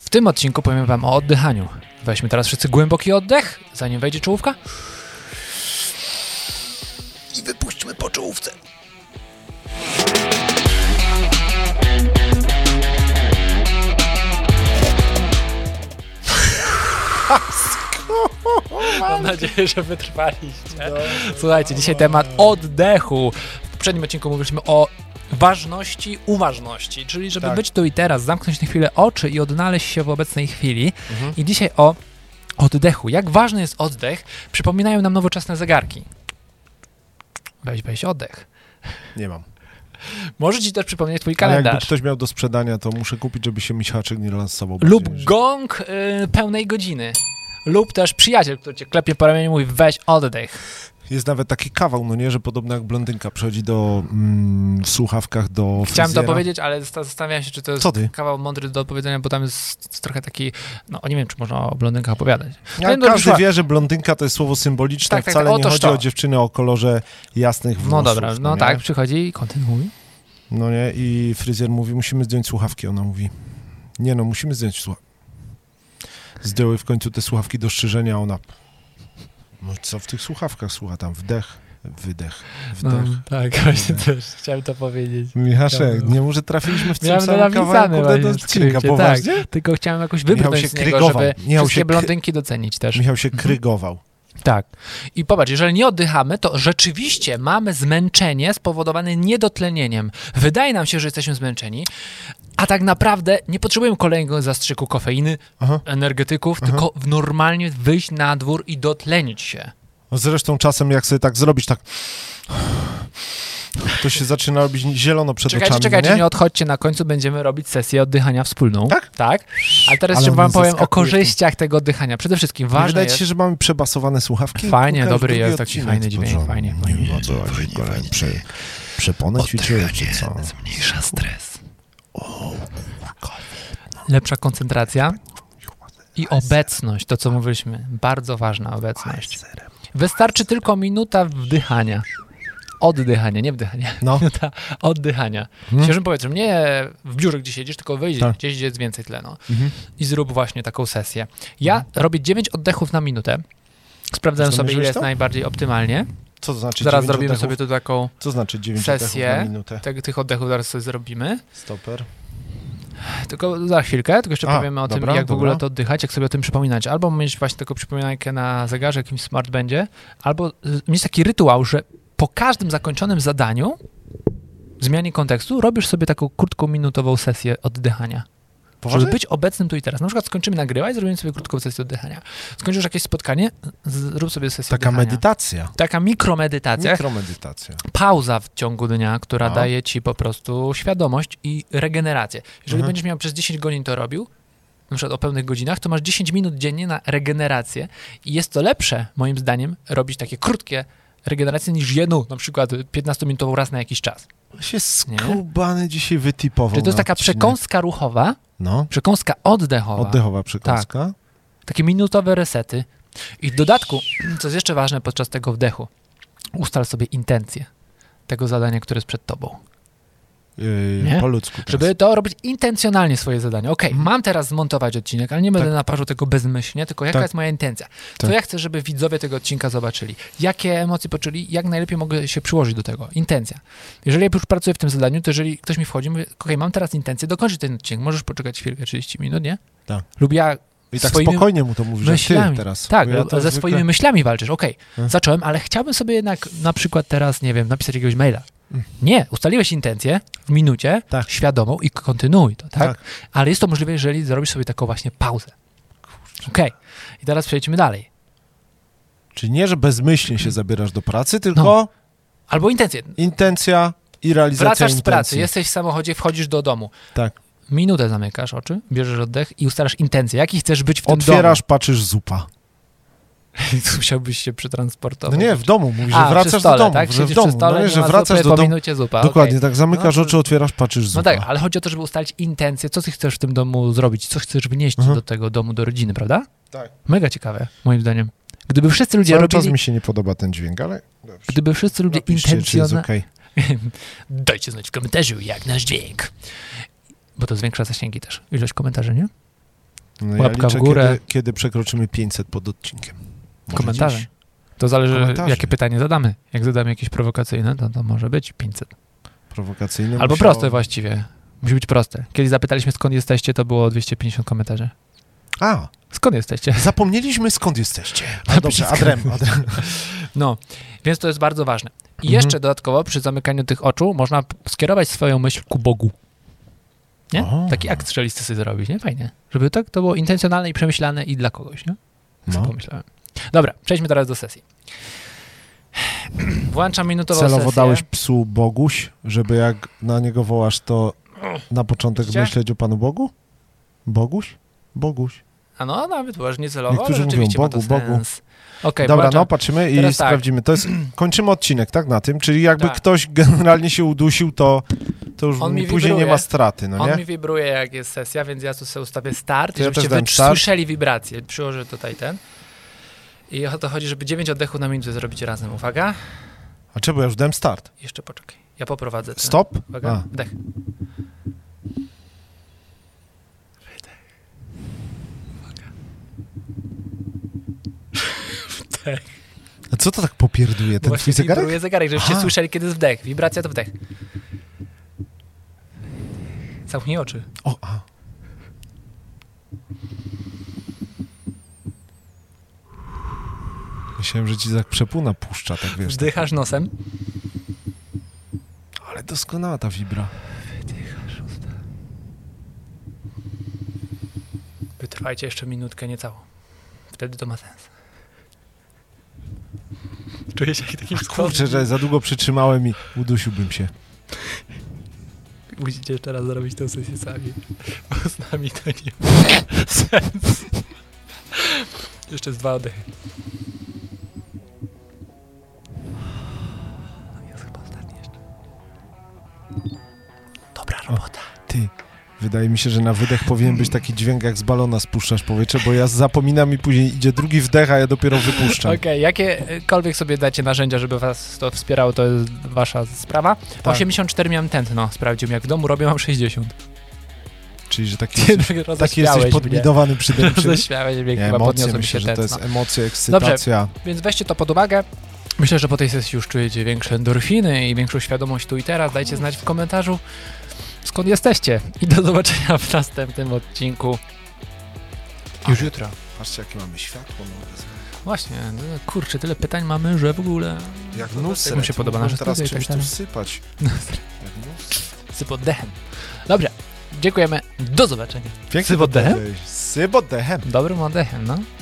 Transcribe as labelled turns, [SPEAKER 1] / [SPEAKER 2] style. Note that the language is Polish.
[SPEAKER 1] W tym odcinku powiem Wam o oddychaniu. Weźmy teraz wszyscy głęboki oddech, zanim wejdzie czołówka.
[SPEAKER 2] I wypuśćmy po czołówce.
[SPEAKER 1] Mam nadzieję, że wytrwaliście. Słuchajcie, dzisiaj temat oddechu. W poprzednim odcinku mówiliśmy o ważności uważności, czyli żeby
[SPEAKER 2] Tak.
[SPEAKER 1] być tu i teraz, zamknąć na chwilę oczy i odnaleźć się w obecnej chwili.
[SPEAKER 2] Mhm.
[SPEAKER 1] I dzisiaj o oddechu. Jak ważny jest oddech, przypominają nam nowoczesne zegarki. Weź, weź oddech.
[SPEAKER 2] Nie mam.
[SPEAKER 1] Może ci też przypomnieć twój
[SPEAKER 2] Ale jakby
[SPEAKER 1] kalendarz.
[SPEAKER 2] ktoś miał do sprzedania, to muszę kupić, żeby się mi haczyk nie lansował.
[SPEAKER 1] Lub gong y, pełnej godziny. Lub też przyjaciel, który cię klepie po ramieniu i mówi weź oddech.
[SPEAKER 2] Jest nawet taki kawał, no nie, że podobno jak blondynka przychodzi do mm, w słuchawkach do
[SPEAKER 1] Chciałem to
[SPEAKER 2] fryzjera.
[SPEAKER 1] powiedzieć, ale zasta- zastanawiałem się, czy to jest
[SPEAKER 2] Co ty?
[SPEAKER 1] kawał mądry do opowiedzenia, bo tam jest trochę taki, no nie wiem, czy można o blondynkach opowiadać.
[SPEAKER 2] Ja,
[SPEAKER 1] Wiem, dobrze,
[SPEAKER 2] każdy
[SPEAKER 1] słuchaj.
[SPEAKER 2] wie, że blondynka to jest słowo symboliczne,
[SPEAKER 1] no, Tak, tak,
[SPEAKER 2] wcale
[SPEAKER 1] tak,
[SPEAKER 2] nie
[SPEAKER 1] otóż
[SPEAKER 2] chodzi
[SPEAKER 1] to.
[SPEAKER 2] o dziewczynę o kolorze jasnych włosów.
[SPEAKER 1] No dobra, no
[SPEAKER 2] nie?
[SPEAKER 1] tak, przychodzi i kontynuuj.
[SPEAKER 2] No nie, i fryzjer mówi, musimy zdjąć słuchawki, ona mówi. Nie no, musimy zdjąć słuchawki. Zdjęły w końcu te słuchawki do szczerzenia, a ona... No co w tych słuchawkach słucha tam? Wdech, wydech,
[SPEAKER 1] No,
[SPEAKER 2] wdech.
[SPEAKER 1] tak, właśnie też chciałem to powiedzieć.
[SPEAKER 2] Michaszek,
[SPEAKER 1] Dobra.
[SPEAKER 2] nie może trafiliśmy w tym
[SPEAKER 1] Miałem to
[SPEAKER 2] samym kawałku
[SPEAKER 1] napisane
[SPEAKER 2] kurde, do
[SPEAKER 1] właśnie w
[SPEAKER 2] odcinka,
[SPEAKER 1] skrócie,
[SPEAKER 2] poważnie?
[SPEAKER 1] tak. Tylko chciałem jakoś wybrnąć
[SPEAKER 2] się
[SPEAKER 1] z niego,
[SPEAKER 2] krygował.
[SPEAKER 1] żeby
[SPEAKER 2] Michał
[SPEAKER 1] wszystkie
[SPEAKER 2] się kry-
[SPEAKER 1] blondynki docenić też.
[SPEAKER 2] Michał się krygował.
[SPEAKER 1] Tak. I popatrz, jeżeli nie oddychamy, to rzeczywiście mamy zmęczenie spowodowane niedotlenieniem. Wydaje nam się, że jesteśmy zmęczeni, a tak naprawdę nie potrzebujemy kolejnego zastrzyku kofeiny,
[SPEAKER 2] Aha.
[SPEAKER 1] energetyków, tylko w- normalnie wyjść na dwór i dotlenić się.
[SPEAKER 2] No Zresztą czasem jak sobie tak zrobić, tak... To się zaczyna robić zielono przed
[SPEAKER 1] Czekajcie,
[SPEAKER 2] oczami,
[SPEAKER 1] czekajcie, nie?
[SPEAKER 2] nie?
[SPEAKER 1] odchodźcie, na końcu będziemy robić sesję oddychania wspólną.
[SPEAKER 2] Tak?
[SPEAKER 1] Tak. Ale teraz
[SPEAKER 2] Ale
[SPEAKER 1] jeszcze
[SPEAKER 2] mnie
[SPEAKER 1] wam powiem
[SPEAKER 2] zaskakuje
[SPEAKER 1] o korzyściach tego oddychania. Przede wszystkim
[SPEAKER 2] Nie
[SPEAKER 1] ważne
[SPEAKER 2] Wydaje
[SPEAKER 1] jest...
[SPEAKER 2] ci się, że mamy przebasowane słuchawki?
[SPEAKER 1] Fajnie,
[SPEAKER 2] Kurka, już
[SPEAKER 1] dobry
[SPEAKER 2] drugi
[SPEAKER 1] jest taki
[SPEAKER 2] odcinek
[SPEAKER 1] fajny
[SPEAKER 2] z
[SPEAKER 1] dźwięk,
[SPEAKER 2] porządku.
[SPEAKER 1] fajnie,
[SPEAKER 2] Nie
[SPEAKER 1] fajnie.
[SPEAKER 2] wiem, co, jak kolejny prze- Przeponę ćwiczyłeś, czy co?
[SPEAKER 1] Zmniejsza stres. Lepsza koncentracja i obecność, to co mówiliśmy. Bardzo ważna obecność. Wystarczy tylko minuta wdychania. Oddychania, nie wdychania.
[SPEAKER 2] No.
[SPEAKER 1] Minuta oddychania. Świeżym powietrzem. Nie w biurze, gdzie siedzisz, tylko wyjdź
[SPEAKER 2] Mhm. Tak. Mhm.
[SPEAKER 1] gdzieś, gdzie jest więcej tlenu. I zrób właśnie taką sesję. Ja robię 9 oddechów na minutę. Sprawdzałem sobie, ile
[SPEAKER 2] Zamierzyłeś
[SPEAKER 1] jest
[SPEAKER 2] to?
[SPEAKER 1] najbardziej optymalnie.
[SPEAKER 2] Co to znaczy
[SPEAKER 1] Zaraz
[SPEAKER 2] dziewięć
[SPEAKER 1] zrobimy
[SPEAKER 2] oddechów?
[SPEAKER 1] sobie tu taką
[SPEAKER 2] Co znaczy 9
[SPEAKER 1] sesję.
[SPEAKER 2] oddechów na minutę?
[SPEAKER 1] te, tych oddechów zaraz sobie zrobimy.
[SPEAKER 2] Stoper.
[SPEAKER 1] Tylko za chwilkę, tylko jeszcze
[SPEAKER 2] A,
[SPEAKER 1] powiemy o
[SPEAKER 2] dobra,
[SPEAKER 1] tym, jak w ogóle
[SPEAKER 2] dobra.
[SPEAKER 1] to oddychać, jak sobie o tym przypominać. Albo mieć właśnie taką przypominajkę na zegarze, jakimś smart będzie, albo y, mieć taki rytuał, że po każdym zakończonym zadaniu, zmianie kontekstu, robisz sobie taką krótką minutową sesję oddychania.
[SPEAKER 2] Poważnie?
[SPEAKER 1] Żeby być obecnym tu i teraz. Na przykład skończymy nagrywać, zrobimy sobie krótką sesję oddychania. Skończysz jakieś spotkanie, zrób sobie sesję
[SPEAKER 2] Taka
[SPEAKER 1] oddychania.
[SPEAKER 2] medytacja.
[SPEAKER 1] Taka mikromedytacja,
[SPEAKER 2] Mikromedytacja.
[SPEAKER 1] pauza w ciągu dnia, która
[SPEAKER 2] No.
[SPEAKER 1] daje ci po prostu świadomość i regenerację. Jeżeli
[SPEAKER 2] Mhm.
[SPEAKER 1] będziesz miał przez 10 godzin to robił, na przykład o pełnych godzinach, to masz 10 minut dziennie na regenerację i jest to lepsze, moim zdaniem, robić takie krótkie regeneracje niż jedną, na przykład 15-minutową raz na jakiś czas.
[SPEAKER 2] Się skubany dzisiaj wytipował
[SPEAKER 1] Czyli to jest
[SPEAKER 2] na
[SPEAKER 1] taka
[SPEAKER 2] odcinek.
[SPEAKER 1] przekąska ruchowa,
[SPEAKER 2] No,
[SPEAKER 1] przekąska oddechowa,
[SPEAKER 2] oddechowa przekąska.
[SPEAKER 1] takie minutowe resety. I w dodatku, co jest jeszcze ważne podczas tego wdechu, ustal sobie intencję tego zadania, które jest przed tobą.
[SPEAKER 2] Yy,
[SPEAKER 1] Nie?
[SPEAKER 2] po ludzku teraz. Mhm.
[SPEAKER 1] Żeby to robić intencjonalnie swoje zadanie. Okej, mam teraz zmontować odcinek, ale nie będę
[SPEAKER 2] Tak.
[SPEAKER 1] naparzał tego bezmyślnie, tylko jaka
[SPEAKER 2] Tak.
[SPEAKER 1] jest moja intencja. Co
[SPEAKER 2] Tak.
[SPEAKER 1] ja chcę, żeby widzowie tego odcinka zobaczyli? Jakie emocje poczuli? Jak najlepiej mogę się przyłożyć do tego? Intencja. Jeżeli ja już pracuję w tym zadaniu, to jeżeli ktoś mi wchodzi, mówię, okej, mam teraz intencję, dokończyć ten odcinek, możesz poczekać chwilkę, 30 minut, nie?
[SPEAKER 2] Tak.
[SPEAKER 1] Lub ja
[SPEAKER 2] I tak
[SPEAKER 1] swoimi
[SPEAKER 2] spokojnie mu to mówisz, że ty
[SPEAKER 1] myślami.
[SPEAKER 2] teraz.
[SPEAKER 1] Tak,
[SPEAKER 2] Bo ja to
[SPEAKER 1] ze
[SPEAKER 2] zwykle-
[SPEAKER 1] swoimi myślami walczysz. Okej,
[SPEAKER 2] Mhm.
[SPEAKER 1] zacząłem, ale chciałbym sobie jednak na przykład teraz, nie wiem, napisać jakiegoś maila. Nie, ustaliłeś intencję w minucie,
[SPEAKER 2] Mhm. Tak.
[SPEAKER 1] świadomą i kontynuuj to, tak?
[SPEAKER 2] Tak.
[SPEAKER 1] Ale jest to możliwe, jeżeli zrobisz sobie taką właśnie pauzę. Okej, i teraz przejdźmy dalej.
[SPEAKER 2] Czyli nie, że bezmyślnie się zabierasz do
[SPEAKER 1] No.
[SPEAKER 2] pracy, tylko
[SPEAKER 1] Albo intencję.
[SPEAKER 2] intencja i realizacja
[SPEAKER 1] Wracasz z
[SPEAKER 2] intencji.
[SPEAKER 1] pracy, jesteś w samochodzie, wchodzisz do domu.
[SPEAKER 2] Tak.
[SPEAKER 1] Minutę zamykasz oczy, bierzesz oddech i ustalasz intencję. Jaki chcesz być w tym
[SPEAKER 2] Otwierasz, patrzysz, zupa.
[SPEAKER 1] domu? Musiałbyś się przetransportować.
[SPEAKER 2] No nie, w domu, mówisz,
[SPEAKER 1] A,
[SPEAKER 2] że
[SPEAKER 1] przy
[SPEAKER 2] wracasz
[SPEAKER 1] stole,
[SPEAKER 2] do domu,
[SPEAKER 1] tak?
[SPEAKER 2] że w
[SPEAKER 1] Siedzisz
[SPEAKER 2] domu,
[SPEAKER 1] przy stole,
[SPEAKER 2] no nie,
[SPEAKER 1] nie
[SPEAKER 2] że
[SPEAKER 1] ma
[SPEAKER 2] wracasz
[SPEAKER 1] zupy,
[SPEAKER 2] do
[SPEAKER 1] po
[SPEAKER 2] domu.
[SPEAKER 1] minucie zupa.
[SPEAKER 2] Dokładnie,
[SPEAKER 1] okej.
[SPEAKER 2] tak zamykasz
[SPEAKER 1] No to-
[SPEAKER 2] oczy, otwierasz, patrzysz, zupa.
[SPEAKER 1] No tak, ale chodzi o to, żeby ustalić intencję, co ty chcesz w tym domu zrobić, co chcesz wnieść
[SPEAKER 2] Mhm.
[SPEAKER 1] do tego domu, do rodziny, prawda?
[SPEAKER 2] Tak.
[SPEAKER 1] Mega ciekawe, moim zdaniem. Gdyby wszyscy ludzie
[SPEAKER 2] Cały czas
[SPEAKER 1] robili,
[SPEAKER 2] mi się nie podoba ten dźwięk, ale dobrze.
[SPEAKER 1] gdyby wszyscy ludzie
[SPEAKER 2] Napiszcie, czy jest
[SPEAKER 1] intencjonalnie...
[SPEAKER 2] okej.
[SPEAKER 1] Dajcie znać w komentarzu, jak nasz dźwięk. Bo to zwiększa zasięgi też. Ilość komentarzy, nie?
[SPEAKER 2] No
[SPEAKER 1] Łapka w górę.
[SPEAKER 2] Kiedy, kiedy przekroczymy 500 pod odcinkiem. Może
[SPEAKER 1] Komentarze.
[SPEAKER 2] dziś?
[SPEAKER 1] To zależy,
[SPEAKER 2] Komentarze.
[SPEAKER 1] jakie pytanie zadamy. Jak zadamy jakieś prowokacyjne, to, to może być 500.
[SPEAKER 2] Prowokacyjne.
[SPEAKER 1] Albo
[SPEAKER 2] musiało-
[SPEAKER 1] proste właściwie. Musi być proste. Kiedy zapytaliśmy, skąd jesteście, to było 250 komentarzy.
[SPEAKER 2] A,
[SPEAKER 1] Skąd jesteście?
[SPEAKER 2] zapomnieliśmy skąd jesteście. A
[SPEAKER 1] Napisz
[SPEAKER 2] dobrze,
[SPEAKER 1] skąd.
[SPEAKER 2] adrem, adrem.
[SPEAKER 1] No, więc to jest bardzo ważne. I
[SPEAKER 2] Mhm.
[SPEAKER 1] jeszcze dodatkowo przy zamykaniu tych oczu można p- skierować swoją myśl ku Bogu. Nie? Tak
[SPEAKER 2] O.
[SPEAKER 1] Taki akt strzelisty sobie zrobić, nie? Fajnie. Żeby tak to było intencjonalne i przemyślane i dla kogoś, nie? Tak sobie
[SPEAKER 2] No.
[SPEAKER 1] pomyślałem. Dobra, przejdźmy teraz do sesji. Włączam minutową
[SPEAKER 2] Celowo
[SPEAKER 1] sesję.
[SPEAKER 2] dałeś psu Boguś, żeby jak na niego wołasz, to na początek
[SPEAKER 1] Widzicie?
[SPEAKER 2] myśleć o Panu Bogu? Boguś? Boguś.
[SPEAKER 1] A no, nawet właśnie celowo,
[SPEAKER 2] Niektórzy
[SPEAKER 1] ale
[SPEAKER 2] mówią,
[SPEAKER 1] rzeczywiście
[SPEAKER 2] Bogu,
[SPEAKER 1] ma to
[SPEAKER 2] Bogu.
[SPEAKER 1] sens. Okej,
[SPEAKER 2] Dobra,
[SPEAKER 1] włączam.
[SPEAKER 2] no patrzymy i
[SPEAKER 1] Teraz tak.
[SPEAKER 2] sprawdzimy. To jest, kończymy odcinek, tak, na tym? Czyli jakby
[SPEAKER 1] Tak.
[SPEAKER 2] ktoś generalnie się udusił, to, to już
[SPEAKER 1] On
[SPEAKER 2] mi
[SPEAKER 1] mi
[SPEAKER 2] później nie
[SPEAKER 1] wibruje.
[SPEAKER 2] ma straty, no nie?
[SPEAKER 1] On mi wibruje, jak jest sesja, więc ja tu sobie ustawię start,
[SPEAKER 2] To ja
[SPEAKER 1] żebyście
[SPEAKER 2] też dałem
[SPEAKER 1] wy
[SPEAKER 2] start.
[SPEAKER 1] słyszeli wibrację. Przyłożę tutaj ten. I o to chodzi, żeby 9 oddechów na minutę zrobić razem. Uwaga.
[SPEAKER 2] A czemu, ja już dałem start.
[SPEAKER 1] Jeszcze poczekaj. Ja poprowadzę ten.
[SPEAKER 2] Stop?
[SPEAKER 1] Uwaga.
[SPEAKER 2] A.
[SPEAKER 1] Wdech.
[SPEAKER 2] A co to tak popierduje, ten
[SPEAKER 1] Właśnie
[SPEAKER 2] twój zegarek?
[SPEAKER 1] wibruje zegarek, żebyście
[SPEAKER 2] Aha.
[SPEAKER 1] słyszeli, kiedy jest wdech. Wibracja to wdech. Zamknij oczy.
[SPEAKER 2] O, a. Myślałem, że ci tak przepuna puszcza, tak wiesz. tak.
[SPEAKER 1] Wdychasz nosem.
[SPEAKER 2] Ale doskonała ta wibra.
[SPEAKER 1] Wydychasz usta. Wytrwajcie jeszcze minutkę niecałą. Wtedy to ma sens. Czuję się jak takim
[SPEAKER 2] Kurczę, że za długo przytrzymałem i udusiłbym się.
[SPEAKER 1] Musicie jeszcze raz zrobić tę sesję sami. Bo z nami to nie ma sens. Jeszcze z dwa oddechy. No Jest chyba ostatni jeszcze. Dobra robota.
[SPEAKER 2] Ty, wydaje mi się, że na wydech powinien być taki dźwięk, jak z balona spuszczasz powietrze, bo ja zapominam i później idzie drugi wdech, a ja dopiero wypuszczam.
[SPEAKER 1] Okej, jakiekolwiek sobie dacie narzędzia, żeby was to wspierało, to jest wasza sprawa.
[SPEAKER 2] Tak.
[SPEAKER 1] 84 miałem tętno, sprawdziłem jak w domu, robię mam 60.
[SPEAKER 2] Czyli, że taki,
[SPEAKER 1] Kiedy
[SPEAKER 2] taki
[SPEAKER 1] roześmiałeś
[SPEAKER 2] jesteś
[SPEAKER 1] no, mnie.
[SPEAKER 2] podminowany przy tym. przy-
[SPEAKER 1] Roześmiałeś mnie,
[SPEAKER 2] Nie,
[SPEAKER 1] chyba
[SPEAKER 2] emocje,
[SPEAKER 1] podniosło mi się
[SPEAKER 2] myślę, że to
[SPEAKER 1] tętno.
[SPEAKER 2] jest emocje, ekscytacja.
[SPEAKER 1] Więc weźcie to pod uwagę. Myślę, że po tej sesji już czujecie większe endorfiny i większą świadomość tu i teraz. Dajcie znać w komentarzu, skąd jesteście. I do zobaczenia w następnym odcinku. Już jutro.
[SPEAKER 2] Patrzcie, jakie mamy światło. No.
[SPEAKER 1] Właśnie, no, kurczę, tyle pytań mamy, że w ogóle...
[SPEAKER 2] Jak
[SPEAKER 1] Jak
[SPEAKER 2] nusy.
[SPEAKER 1] mu się podoba nasze
[SPEAKER 2] teraz
[SPEAKER 1] studio i tak
[SPEAKER 2] czymś tu
[SPEAKER 1] dalej.
[SPEAKER 2] sypać. Jak nusy.
[SPEAKER 1] z poddechem. Dobrze, dziękujemy, do zobaczenia.
[SPEAKER 2] Piękny
[SPEAKER 1] Sypod dechem?
[SPEAKER 2] podejść. Sybodechem.
[SPEAKER 1] Dobrym oddechem, no.